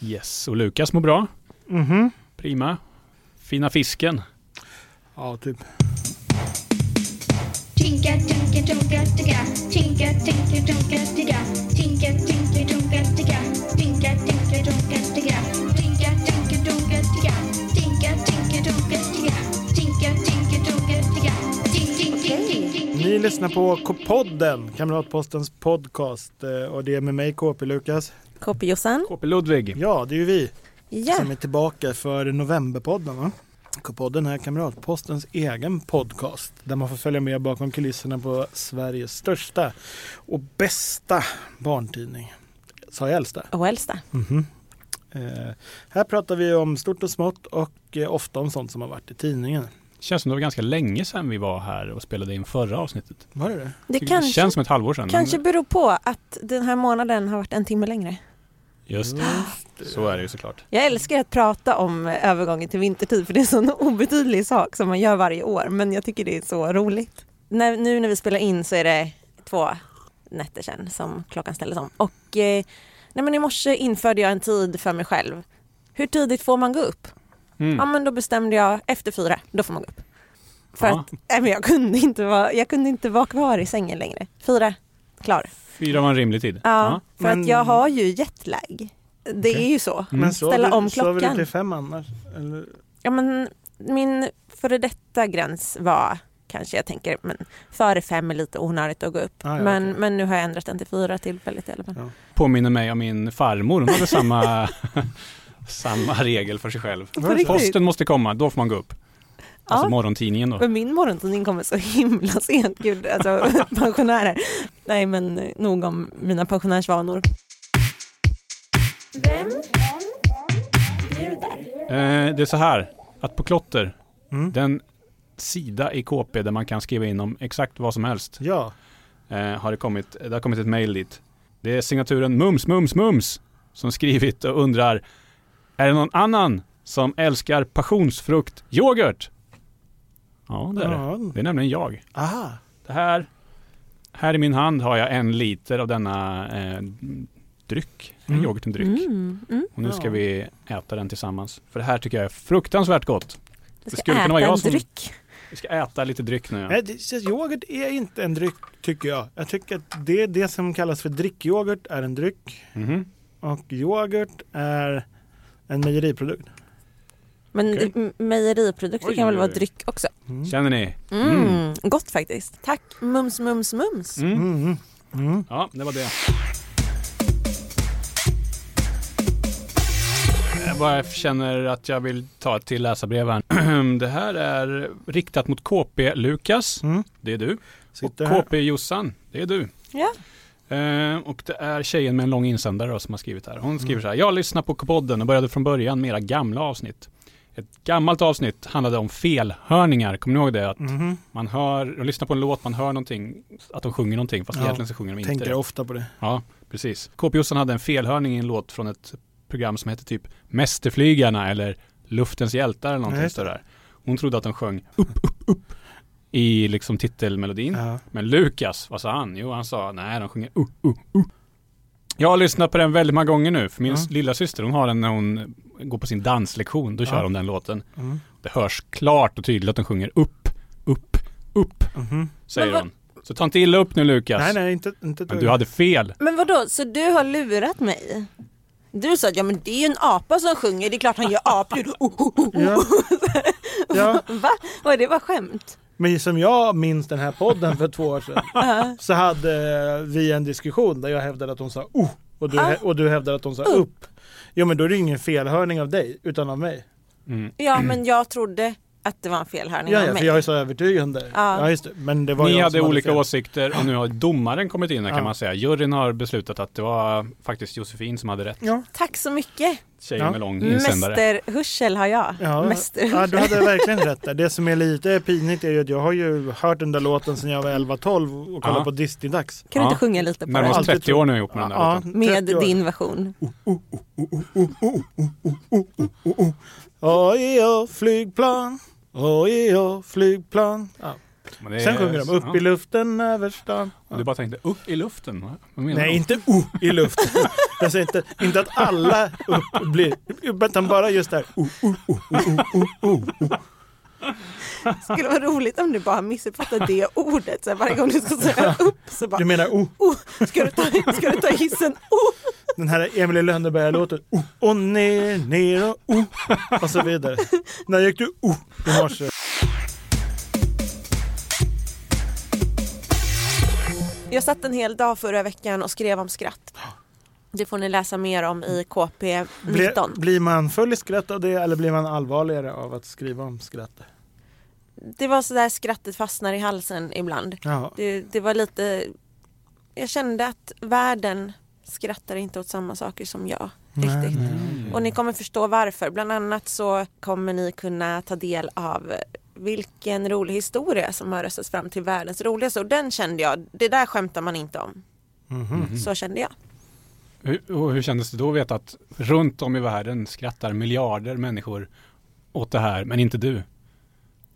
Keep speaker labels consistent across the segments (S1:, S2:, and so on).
S1: Yes, och Lukas mår bra.
S2: Mhm.
S1: Prima. Fina fisken.
S2: Ja, typ.
S3: Tinka, tinka, tonka, ticka. Tinka, tinka, tonka, ticka. Tinka, tinka, tonka, ticka. Tinka, tinka, tonka, ticka. Tinka, tinka, tonka, ticka. Tinka, tinka, tonka, ticka. Tinka, tinka, tonka, ticka. Tink, tink, tink, tink, tink, tink.
S2: Ni lyssnar på K-podden, Kamratpostens podcast. eh, Och det är med mig KP Lukas.
S4: KP Jossan.
S1: KP Ludvig.
S2: Ja, det är ju vi
S4: Ja.
S2: som är tillbaka för novemberpodden. Va? K-podden är Kamratpostens egen podcast. Där man får följa med bakom kulisserna på Sveriges största och bästa barntidning. Sa jag äldsta?
S4: Och äldsta.
S2: Mhm. Eh, här pratar vi om stort och smått och eh, ofta om sånt som har varit i tidningen.
S1: Känns som det var ganska länge sedan vi var här och spelade in förra avsnittet.
S2: Var det det?
S4: Det
S1: Tycker
S4: kanske,
S1: känns som ett halvår sedan. men-
S4: kanske beror på att den här månaden har varit en timme längre.
S1: Just det. Så är det ju såklart.
S4: Jag älskar att prata om eh, övergången till vintertid för det är en sån obetydlig sak som man gör varje år men jag tycker det är så roligt. När, nu när vi spelar in så är det två nätter sedan som klockan ställdes om och eh, nej men i morse införde jag en tid för mig själv. Hur tidigt får man gå upp?
S1: Mm.
S4: Ja men då bestämde jag efter fyra, då får man gå upp. För
S1: Ja.
S4: att nej, men jag, kunde inte vara, jag kunde inte vara kvar i sängen längre. Fyra, klar.
S1: Fyra var en rimlig tid.
S4: Ja, för
S2: Men-
S4: att jag har ju jetlag. Det är ju så.
S1: Mm.
S2: Men sover-
S4: Ställa om
S2: sover du
S4: klockan.
S2: till fem annars? Eller?
S4: Ja, men min före detta gräns var kanske jag tänker, men före fem är lite onödigt att gå upp.
S2: Ah, ja,
S4: men,
S2: okej.
S4: men nu har jag ändrat den till fyra tillfälligt i alla fall.
S1: Påminner mig om min farmor. Hon hade samma, samma regel för sig själv.
S4: På riktigt?
S1: Posten måste komma, då får man gå upp. Alltså
S4: Ja.
S1: morgontidningen då.
S4: Men min morgontidning kommer så himla sent, gud alltså pensionärer. Nej men eh, nog om mina pensionärsvanor.
S1: Eh, det är så här, att på Klotter,
S2: Mm.
S1: den sida i KP där man kan skriva in om exakt vad som helst,
S2: Ja,
S1: eh, har det, kommit, det har kommit ett mejl dit. Det är signaturen Mums Mums Mums som skrivit och undrar, är det någon annan som älskar passionsfrukt yoghurt? Ja, det är det.
S2: ja.
S1: Det är nämligen jag.
S2: Aha.
S1: Det här, här i min hand har jag en liter av denna eh, dryck, en
S2: Mm.
S1: yoghurten dryck.
S4: Mm, mm.
S1: Och nu ska
S2: Ja.
S1: vi äta den tillsammans. För det här tycker jag är fruktansvärt gott.
S4: Det
S1: Det
S4: ska
S1: skulle kunna
S4: äta
S1: vara jag
S4: en
S1: som-
S4: dryck.
S1: Vi ska äta lite dryck nu.
S2: Nej, det, så yoghurt är inte en dryck tycker jag. Jag tycker att det, det som kallas för drickyoghurt är en dryck
S4: Mm.
S1: Mhm.
S2: och yoghurt är en mejeriprodukt.
S4: Men
S1: Okej.
S4: m- mejeriprodukter
S1: Oj,
S4: kan väl
S1: oj,
S4: vara
S1: oj.
S4: dryck också?
S2: Mm.
S1: Känner ni?
S4: Mm,
S1: Mm.
S4: Gott faktiskt. Tack Mums Mums Mums.
S1: Mm.
S2: Mm. Mm.
S1: Ja, det var det. Jag bara känner att jag vill ta ett till läsarbrev här. Det här är riktat mot KP Lukas,
S2: Mm.
S1: det är du. Och
S2: Sitter här.
S1: KP Jossan, det är du.
S4: Ja.
S1: Eh, och det är tjejen med en lång insändare då, som har skrivit här. Hon
S2: Mm.
S1: skriver så här. Jag lyssnar på podden och började från början med era gamla avsnitt. Ett gammalt avsnitt handlade om felhörningar. Kommer ni ihåg det? Att
S2: Mhm.
S1: man hör, och lyssnar på en låt, man hör någonting, att de sjunger någonting, fast
S2: Ja,
S1: egentligen så sjunger de inte
S2: Tänker
S1: det.
S2: ofta på det.
S1: Ja, precis. kp Jossan hade en felhörning i en låt från ett program som hette typ Mästerflygarna eller Luftens hjältar eller
S2: Ja,
S1: någonting
S2: just det.
S1: sådär. Hon trodde att de sjöng upp, upp, upp i liksom titelmelodin.
S2: Ja.
S1: Men Lukas, vad sa han? Jo, han sa nej, de sjunger uh, uh, uh. Jag har lyssnat på den väldigt många gånger nu, för min
S2: Ja.
S1: lillasyster lilla syster, hon har den när hon går på sin danslektion, då
S2: Ja.
S1: kör de den låten.
S2: Mm.
S1: Det hörs klart och tydligt att de sjunger upp, upp, upp,
S2: Mhm.
S1: säger
S4: Men vad-
S1: hon. Så ta inte illa upp nu Lukas.
S2: Nej, nej, inte, inte ett
S1: Men
S2: dugg.
S1: du hade fel.
S4: Men vadå, så du har lurat mig? Du sa att ja, men det är ju en apa som sjunger, det är klart han gör apljud. Oh, oh, oh, oh.
S2: Ja. ja,
S4: Va? Var det var skämt?
S2: men som jag minns den här podden för två år sedan
S4: Ja.
S2: så hade vi en diskussion där jag hävdade att hon sa oh och du,
S4: Ah.
S2: och du hävdade att hon sa upp. Jo men då är det ingen felhörning av dig utan av mig.
S1: Mm.
S4: ja, men jag trodde att det var en felhörning
S2: Ja,
S4: av
S2: ja
S4: mig.
S2: för jag är så övertygande.
S4: Ja.
S2: Ja just det. Men det var
S1: Ni
S2: jag
S1: hade
S2: som
S1: olika
S2: fel.
S1: åsikter och nu har domaren kommit in här
S2: Ja.
S1: kan man säga. Juryn har beslutat att det var faktiskt Josefin som hade rätt.
S2: Ja.
S4: Tack så mycket.
S1: Tjejen
S2: Ja.
S1: med lång insändare.
S4: Mästerhörsel har jag.
S2: Ja, ja,
S4: Mästerhörsel.
S2: du hade verkligen rätt där. Det som är lite pinigt är ju att jag har ju hört den där låten sedan jag var 11-12 och kollade
S1: Ja.
S2: på Disney-dags.
S4: Kan du
S1: Ja.
S4: inte sjunga lite på
S1: Närmare oss
S4: det?
S2: Alltid
S1: 30 år nu ihop med den där låten.
S4: Med
S2: 30 år.
S4: din version.
S2: E Oj, ja, E flygplan. Oj, ja, flygplan. Ja.
S1: men det är-
S2: Sen sjunger de upp i
S1: ja.
S2: luften överstan.
S1: Du bara tänkte upp i luften? va? Vad menar
S2: Nej,
S1: du?
S2: inte uh i luften. alltså inte, inte att alla upp blir, utan bara just där. Uh, uh, uh, uh, uh, uh, uh.
S4: skulle vara roligt om du bara missuppfattar det ordet. Så här, varje gång du ska säga upp så
S2: Du
S4: bara,
S2: menar uh,
S4: oh, ska, du ta, ska du ta hissen? Oh.
S2: den här Emil i Lönneberga-låten. Uh, och ner, ner och uh, och så vidare. När gick du uh i morse?
S4: Jag satt en hel dag förra veckan och skrev om skratt. Det får ni läsa mer om i KP19.
S2: Blir, blir man full i skratt av det eller blir man allvarligare av att skriva om skratt?
S4: Det var sådär skrattet fastnar i halsen ibland.
S2: Ja.
S4: Det, det var lite... Jag kände att världen skrattar inte åt samma saker som jag.
S2: Nej,
S4: Riktigt.
S2: nej.
S4: Och ni kommer förstå varför. Bland annat så kommer ni kunna ta del av vilken rolig historia som har röstats fram till världens roligaste. Och den kände jag, det där skämtar man inte om.
S2: Mhm.
S4: Så kände jag.
S1: Hur, och hur kändes det då att veta att runt om i världen skrattar miljarder människor åt det här, men inte du?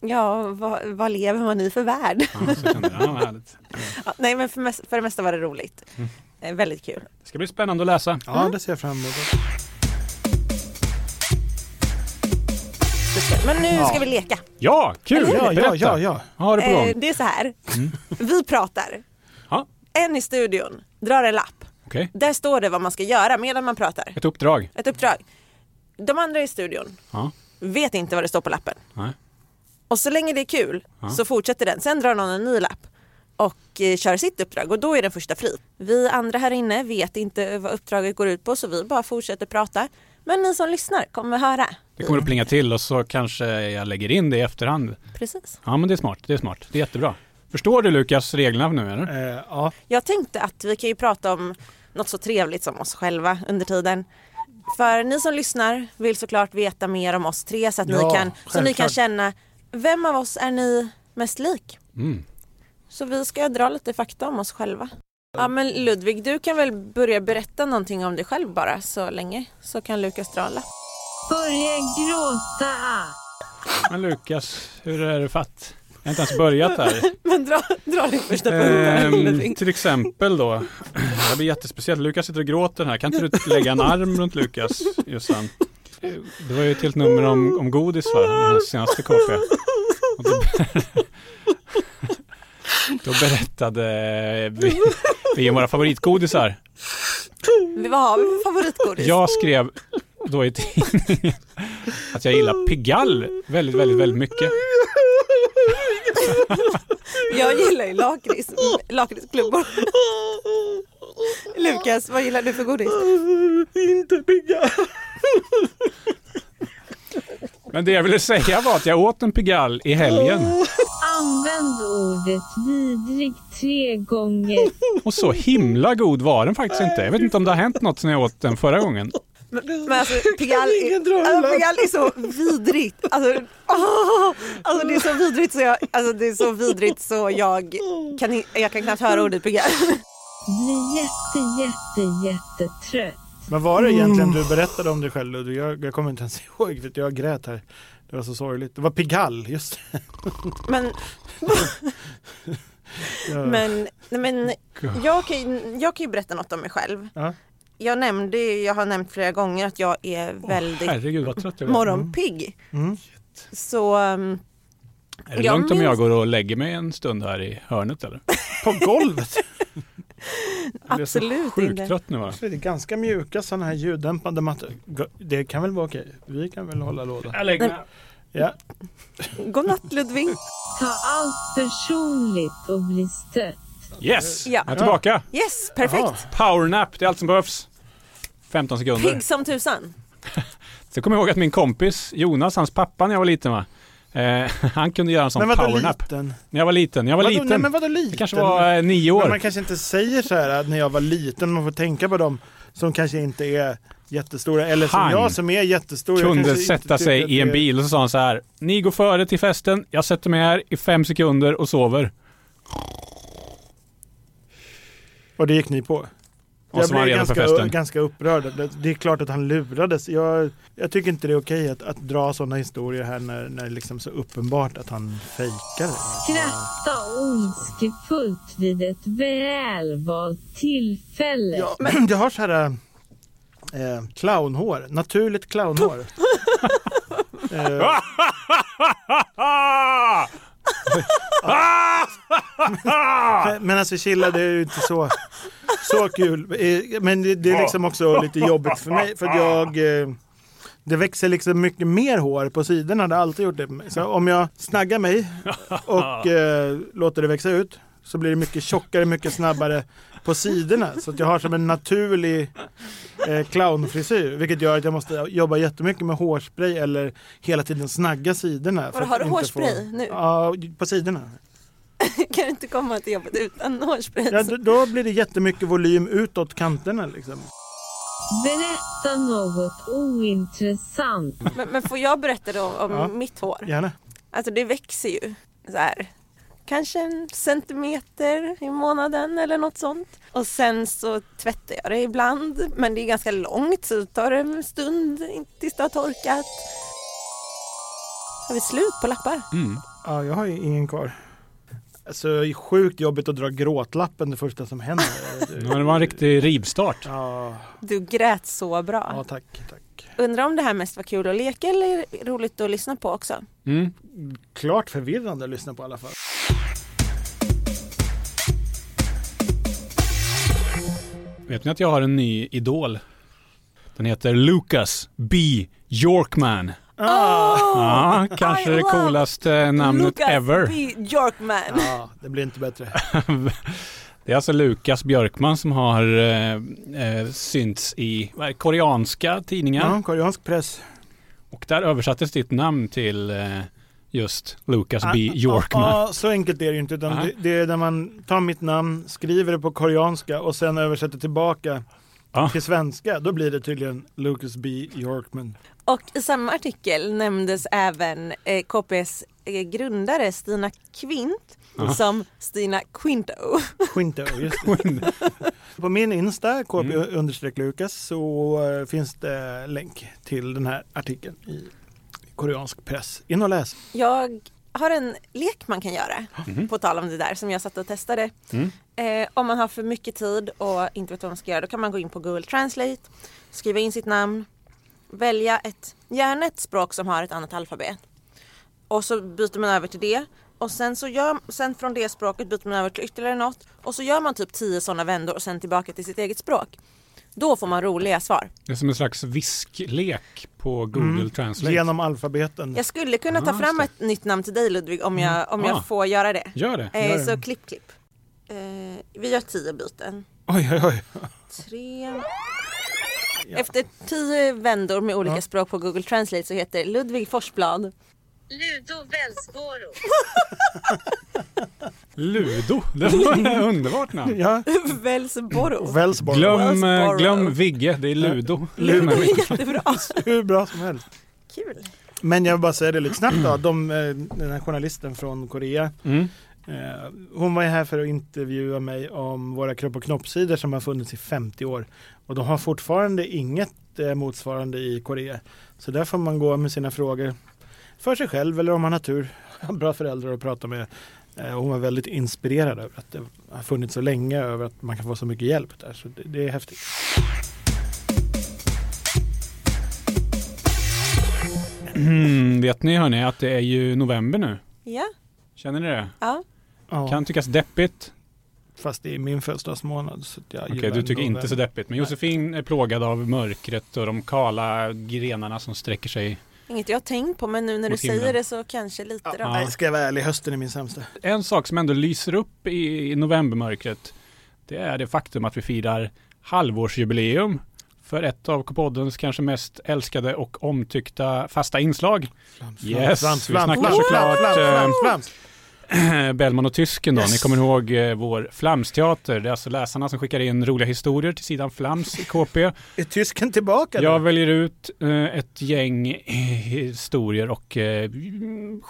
S4: Ja, vad, vad lever man i för värld?
S1: Ja, så kände jag, ja, vad härligt.
S4: Ja, nej, men för, mest, för det mesta var det roligt.
S1: Mm.
S4: Eh, väldigt kul.
S1: Det ska bli spännande att läsa.
S2: Ja, det ser jag fram emot.
S4: Men nu
S2: Ja.
S4: ska vi leka.
S1: Ja, kul!
S2: Ja, ja,
S1: Berätta.
S2: ja, ja.
S1: Vad har du på gång? Mm.
S4: Eh, det är så här, vi pratar.
S1: Ja.
S4: En i studion drar en lapp.
S1: Okej,
S4: Där står det vad man ska göra medan man pratar.
S1: ett uppdrag.
S4: Ett uppdrag. De andra i studion
S1: Ja,
S4: vet inte vad det står på lappen.
S1: nej.
S4: Och så länge det är kul
S1: Ja.
S4: så fortsätter den. Sen drar någon en ny lapp och eh, kör sitt uppdrag och då är den första fri. Vi andra här inne vet inte vad uppdraget går ut på så vi bara fortsätter prata. Men ni som lyssnar kommer höra.
S1: Det kommer att plinga till och så kanske jag lägger in det i efterhand.
S4: Precis.
S1: Ja, men det är smart. Det är smart. Det är jättebra. Förstår du Lukas reglerna nu eller?
S2: Eh, ja.
S4: Jag tänkte att vi kan ju prata om något så trevligt som oss själva under tiden. För ni som lyssnar vill såklart veta mer om oss tre så att
S2: Ja,
S4: ni, kan, så ni kan
S2: självklart.
S4: känna vem av oss är ni mest lik?
S1: Mm.
S4: Så vi ska dra lite fakta om oss själva. Ja men Ludvig, du kan väl börja berätta någonting om dig själv bara så länge så kan Lukas dra alla.
S5: Börja gråta.
S1: Men Lukas, hur är det fatt? Jag har inte ens börjat här.
S4: Men dra, dra din första punkt då,
S1: Ehm,
S4: Ludvig.
S1: till exempel då. Det här blir jättespeciellt. Lukas sitter och gråter här. Kan inte du lägga en arm runt Lukas, Jossan? Eh, Det var ju ett helt nummer om, om godis va? I den senaste KP. Och då, då berättade vi, vi om våra favoritgodisar.
S2: Eh.
S4: Vad har vi för favoritgodis?
S1: Jag skrev då i tidningen att jag gillar Pigalle väldigt, väldigt, väldigt mycket.
S4: Jag gillar ju lakrits, lakritsklubbor. Lukas, vad gillar du för godis?
S2: Inte pigga.
S1: Men det jag ville säga var att jag åt en Pigalle i helgen.
S5: Använd ordet vidrig tre gånger.
S1: Och så himla god var den faktiskt inte. Jag vet inte om det har hänt något sen jag åt den förra gången.
S4: Men alltså Pigalle är,
S2: ingen dra en
S4: alltså,
S2: lapp.
S4: Pigalle är så vidrigt. Alltså, åh! alltså det är så vidrigt så jag, alltså, det är så vidrigt så jag kan, i- jag kan knappt höra ordet Pigalle.
S5: Bli jätte, jätte, jättetrött.
S2: Men var det egentligen du berättade om dig själv Ludvig? Jag, jag kommer inte ens ihåg för att jag grät här. Det var så sorgligt. Det var Pigalle, just det.
S4: Men,
S2: Ja.
S4: men, nej, men jag, kan, ju- jag kan ju berätta något om mig själv.
S2: Ja.
S4: Jag nämnde ju- jag har nämnt flera gånger att jag är väldigt
S1: Herregud vad trött jag blev.
S4: morgonpigg.
S2: Mm.
S4: Så um,
S1: Är det
S4: Jag
S1: lugnt om
S4: minns-
S1: jag går och lägger mig en stund här i hörnet eller?
S2: På golvet.
S1: Jag blev så
S4: absolut
S1: Sjukt
S4: inte.
S1: trött nu va?
S2: Det är ganska mjuka sådana här ljuddämpande mattor. Det kan väl vara okej? Vi kan väl hålla låda?
S1: Jag lägger mig.
S2: Ja.
S4: Godnatt Ludvig.
S5: Ta allt personligt och bli stött.
S1: Yes!
S4: Ja.
S1: Jag är tillbaka.
S4: Yes, perfekt.
S2: Jaha.
S1: Powernap, det är allt som behövs. 15 sekunder.
S4: Pigg som tusan.
S1: Så kommer jag ihåg att min kompis Jonas, hans pappa när jag var liten va? Eh, han kunde göra en sån
S2: Men vadå
S1: powernap.
S2: liten?
S1: När jag var liten. Jag var
S2: Vadå-
S1: liten.
S2: Nej men vadå liten?
S1: Det kanske var eh, nio år.
S2: Men man kanske inte säger så här att när jag var liten, man får tänka på dem som kanske inte är jättestora. Eller som
S1: Han
S2: jag som är jättestor. jag typ-
S1: kunde
S2: kanske inte
S1: sätta
S2: tycker
S1: sig
S2: att
S1: i en
S2: det-
S1: bil och så sa han så här. Ni går före till festen, jag sätter mig här i fem sekunder och sover.
S2: Och det gick ni på?
S1: Och
S2: Jag
S1: så var han
S2: blev
S1: redo för
S2: ganska,
S1: festen.
S2: ganska upprörd. Det- Det är klart att han lurades. Jag, jag tycker inte det är okej att, att dra sådana historier här när, när det är liksom så uppenbart att han fejkar.
S5: Skratta ondskefullt vid ett välvalt tillfälle.
S2: Ja, men jag har så här eh, clownhår, naturligt clownhår. eh,
S1: Ah!
S2: men alltså chilla, det är ju inte så, så kul. Eh, Men det, det är liksom också lite jobbigt för mig för att jag eh, det växer liksom mycket mer hår på sidorna, det har alltid gjort det. på mig. Så om jag snaggar mig och eh, låter det växa ut så blir det mycket tjockare, mycket snabbare på sidorna. Så att jag har som en naturlig eh, clownfrisyr. Vilket gör att jag måste jobba jättemycket med hårspray eller hela tiden snagga sidorna. för
S4: Vadå,
S2: att
S4: har du
S2: inte
S4: hårspray nu?
S2: Ja, på sidorna.
S4: Kan du inte komma till jobbet utan hårspray?
S2: Ja, då, då blir det jättemycket volym utåt kanterna liksom.
S5: Berätta något ointressant.
S4: men, men får jag berätta då om
S2: Ja.
S4: mitt hår?
S2: Gärna.
S4: Alltså det växer ju så här. Kanske en centimeter i månaden eller något sånt. Och sen så tvättar jag det ibland. Men det är ganska långt så det tar en stund tills det har torkat. Har vi slut på lappar?
S1: Mm.
S2: Ja, jag har ju ingen kvar. Alltså det är sjukt jobbigt att dra gråtlappen det första som händer.
S1: Ja, Det var en riktig rivstart.
S2: Ja,
S4: Du grät så bra.
S2: ja tack, tack.
S4: Undrar om det här mest var kul att leka eller roligt att lyssna på också.
S1: Mm.
S2: Klart förvirrande att lyssna på i alla fall.
S1: Vet ni att jag har en ny idol? Den heter Lucas B. Yorkman.
S2: Oh.
S1: Ja, kanske
S4: I
S1: det
S4: love
S1: coolaste Ah. namnet
S4: Lucas
S1: ever.
S4: B. Yorkman.
S2: Ja, det blir inte bättre.
S1: Det är alltså Lukas Björkman som har eh, eh, synts i vad är det, koreanska tidningar.
S2: Ja, koreansk press.
S1: Och där översattes ditt namn till eh, just Lucas B.
S2: Ah,
S1: Yorkman.
S2: ah, ah, så enkelt är det ju inte. Utan
S1: Nej.
S2: det, det är när man tar mitt namn, skriver det på koreanska och sen översätter tillbaka
S1: Ja.
S2: till svenska. Då blir det tydligen Lucas B. Yorkman.
S4: Och i samma artikel nämndes även eh, KPs eh, grundare Stina Kvint som Stina Quinto.
S2: Quinto, just det. På min Insta,
S1: Mm.
S2: kp-lukas, så eh, finns det länk till den här artikeln i koreansk press. In och läs.
S4: Jag har en lek man kan göra
S1: Mhm.
S4: på tal om det där som jag satt och testade.
S1: Mm.
S4: Eh, om man har för mycket tid och inte vet vad man ska göra då kan man gå in på Google Translate, skriva in sitt namn, välja ett, gärna ett språk som har ett annat alfabet. Och så byter man över till det och sen, så gör, sen från det språket byter man över till ytterligare något och så gör man typ tio sådana vändor och sen tillbaka till sitt eget språk. Då får man roliga svar.
S1: Det är som en slags visklek på Google Translate.
S2: Mm. Genom alfabeten.
S4: Jag skulle kunna ta
S1: Ah,
S4: fram
S1: just
S4: ett nytt namn till dig Ludvig om jag, om jag
S1: Ah.
S4: får göra det.
S1: Gör det.
S4: Eh,
S2: Gör det.
S4: så klipp, klipp. Eh, vi gör tio byten.
S2: Oj, oj, oj.
S4: Tre. Efter tio vändor med olika språk på Google Translate så heter Ludvig Forsblad.
S5: Ludo Välsgård.
S1: Ludo. Det var ett underbart namn.
S2: Ja,
S4: Välsborro.
S2: och Wellsborg.
S1: Glöm, eh,
S4: Wellsboro.
S1: glöm Vigge, det är Ludo.
S4: Jättebra.
S2: Hur bra som helst.
S4: Kul.
S2: Men jag vill bara säga det lite snabbt då. De, eh, den här journalisten från Korea.
S1: Mm.
S2: Eh, Hon var ju här för att intervjua mig om våra kropp och knoppsidor som har funnits i 50 år. Och de har fortfarande inget eh, motsvarande i Korea. Så där får man gå med sina frågor för sig själv eller om man har tur. Bra föräldrar att prata med. Eh, och Hon var väldigt inspirerad över att det har funnits så länge över att man kan få så mycket hjälp där. Så det, det är häftigt.
S1: Mm, vet ni hörni att det är ju november nu?
S4: Ja,
S1: Känner ni det?
S4: ja.
S2: Ja,
S1: Kan tyckas deppigt.
S2: Fast det är min födelsedagsmånad. så att jag
S1: Okej,
S2: gillar
S1: du tycker
S2: ändå
S1: inte så
S2: den.
S1: deppigt. Men Josefin är plågad av mörkret och de kala grenarna som sträcker sig.
S4: Inget jag har tänkt på men nu när du
S1: Mot himlen.
S4: säger det så kanske lite då.
S2: Ja, nej, ska jag vara ärlig, hösten är min sämsta.
S1: En sak som ändå lyser upp i i novembermörkret, det är det faktum att vi firar halvårsjubileum för ett av K-poddens kanske mest älskade och omtyckta fasta inslag.
S2: Flams,
S1: Yes, vi snackar såklart,
S2: flams, flams,
S1: eh,
S2: flams.
S1: Bellman och tysken då.
S2: Yes.
S1: Ni kommer ihåg eh, vår Flamsteater. Det är alltså läsarna som skickar in roliga historier till sidan Flams i KP.
S2: Är tysken tillbaka?
S1: Jag
S2: nu?
S1: väljer ut eh, ett gäng eh, historier och eh,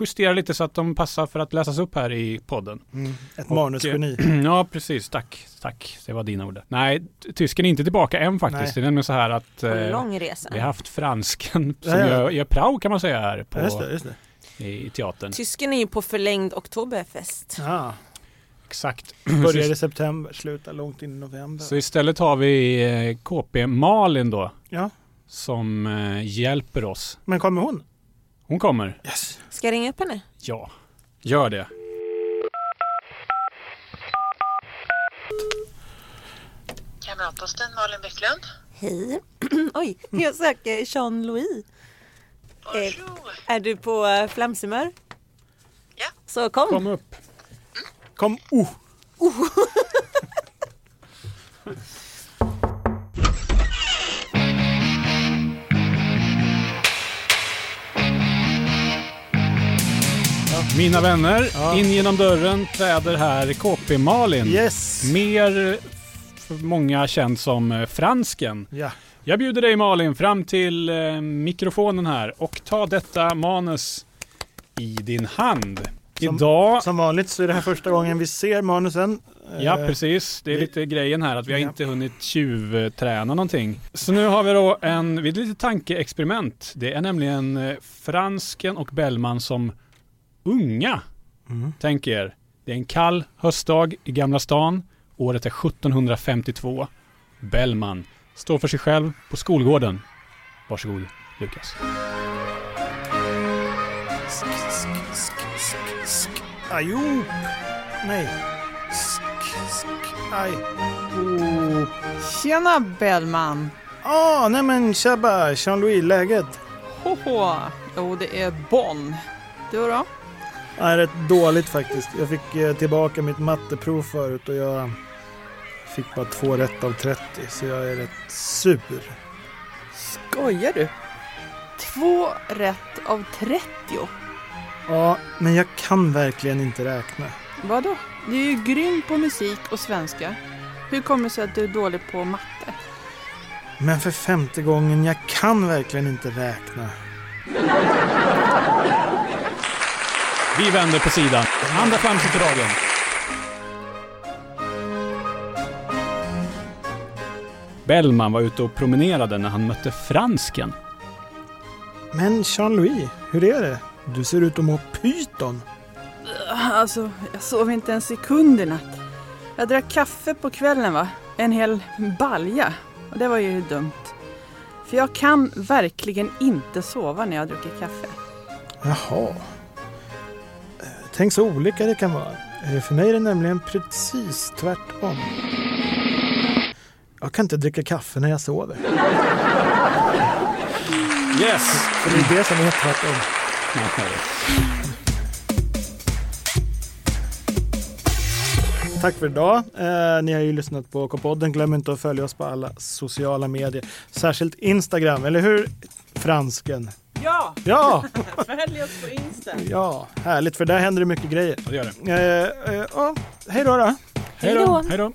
S1: justerar lite så att de passar för att läsas upp här i podden.
S2: Mm, ett
S1: Och, eh,
S2: manusgeni.
S1: ja, precis. Tack, tack. Det var dina ord. Nej, t- tysken är inte tillbaka än faktiskt.
S2: Nej.
S1: Det är nämligen så här att
S4: På
S1: eh,
S4: lång resa.
S1: vi har haft fransken som
S2: Ja, ja.
S1: gör, gör prao kan man säga här
S2: Ja, just
S1: på,
S2: det, just det.
S1: i, i teatern.
S4: Tysken är ju på förlängd oktoberfest.
S2: Ah,
S1: Exakt.
S2: börjar i september, slutar långt in i november.
S1: Mm, Så istället har vi eh, KP Malin då
S2: Ja,
S1: som eh, hjälper oss.
S2: men kommer hon?
S1: Hon kommer.
S2: Yes.
S4: Ska jag ringa upp henne?
S1: Ja, gör det.
S6: Kamratposten, Malin Bäcklund.
S4: Hej. Oj, jag söker Jean-Louis.
S6: Bonjour.
S4: Är du på eh, flamshumör?
S6: Ja.
S4: Så kom.
S1: Kom upp.
S2: Kom, oh!
S1: Mina vänner,
S2: Ja.
S1: in genom dörren träder här KP Malin.
S2: Yes!
S1: Mer för många känd som eh, Fransken.
S2: Ja,
S1: Jag bjuder dig Malin fram till eh, mikrofonen här och ta detta manus i din hand.
S2: Som-
S1: Idag,
S2: som vanligt så är det här första gången vi ser manusen.
S1: ja
S2: Eh,
S1: precis, det är
S2: vi-
S1: lite grejen här att vi har
S2: Ja.
S1: inte hunnit tjuvträna någonting. Så nu har vi då en, vid lite tankeexperiment. Det är nämligen eh, Fransken och Bellman som unga
S2: Mm.
S1: Tänk er, det är en kall höstdag i Gamla stan. Året är 1752. Bellman står för sig själv på skolgården. Varsågod, Lukas.
S2: Ajop! Nej. Aj. Oh.
S7: Tjena Bellman!
S2: Ah, nej men tjabba, Jean-Louis, läget?
S7: Hoho! Jo, det är Bonn. Du då?
S2: Nej, rätt dåligt faktiskt. Jag fick eh, tillbaka mitt matteprov förut och jag fick bara två rätt av 30, så jag är rätt sur.
S7: Skojar du? Två rätt av 30?
S2: Ja, men jag kan verkligen inte räkna.
S7: Vadå? Du är ju grym på musik och svenska. Hur kommer det sig att du är dålig på matte?
S2: Men för femte gången, jag kan verkligen inte räkna.
S1: Vi vänder på sidan. Andra flamset för dagen. Bellman var ute och promenerade när han mötte Fransken.
S2: Men Jean-Louis, hur är det? Du ser ut att må pyton.
S7: Alltså, jag sov inte en sekund i natt. Jag drack kaffe på kvällen va? En hel balja. Och det var ju dumt. För jag kan verkligen inte sova när jag dricker kaffe.
S2: Jaha. Eh, Tänk så olika det kan vara. Eh, För mig är det nämligen precis tvärtom. Jag kan inte dricka kaffe när jag sover.
S1: Yes!
S2: För det är det som är tvärtom. Tack för idag. Eh, ni har ju lyssnat på K-podden. Glöm inte att följa oss på alla sociala medier. Särskilt Instagram, eller hur? Fransken.
S7: Ja!
S2: Ja,
S7: Följ oss på Insta!
S2: ja, härligt för där händer det mycket grejer.
S1: Ja, det gör det.
S2: Eh, eh, ja, hej då då.
S1: Hej då! Hej då!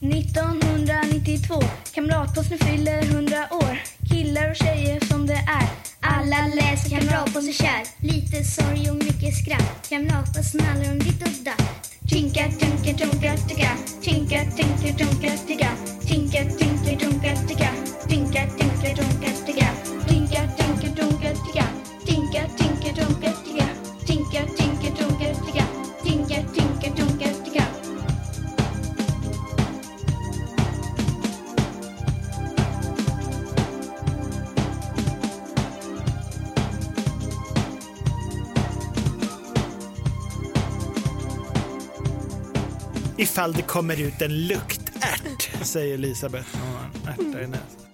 S3: 1992 Kamratposten fyller 100 år Killar och tjejer som det är Alla läser Kamratposten kär Lite sorg och mycket skratt Kamratposten handlar om ditt och datt Tinka, tinka, tunka, ticka Tinka, tinka, tunka, ticka Tinka, tinka, tunka, ticka Tinka, tinka, tunka, ticka Tinka, tinka, tunka, ticka Tinka, tinka, tunka, ticka Tinka, tinka, tunka, ticka Tinka, tinka, tunka, ticka
S2: Ifall det kommer ut en luktärt, säger Elisabeth. Hon har en ärta i näsan.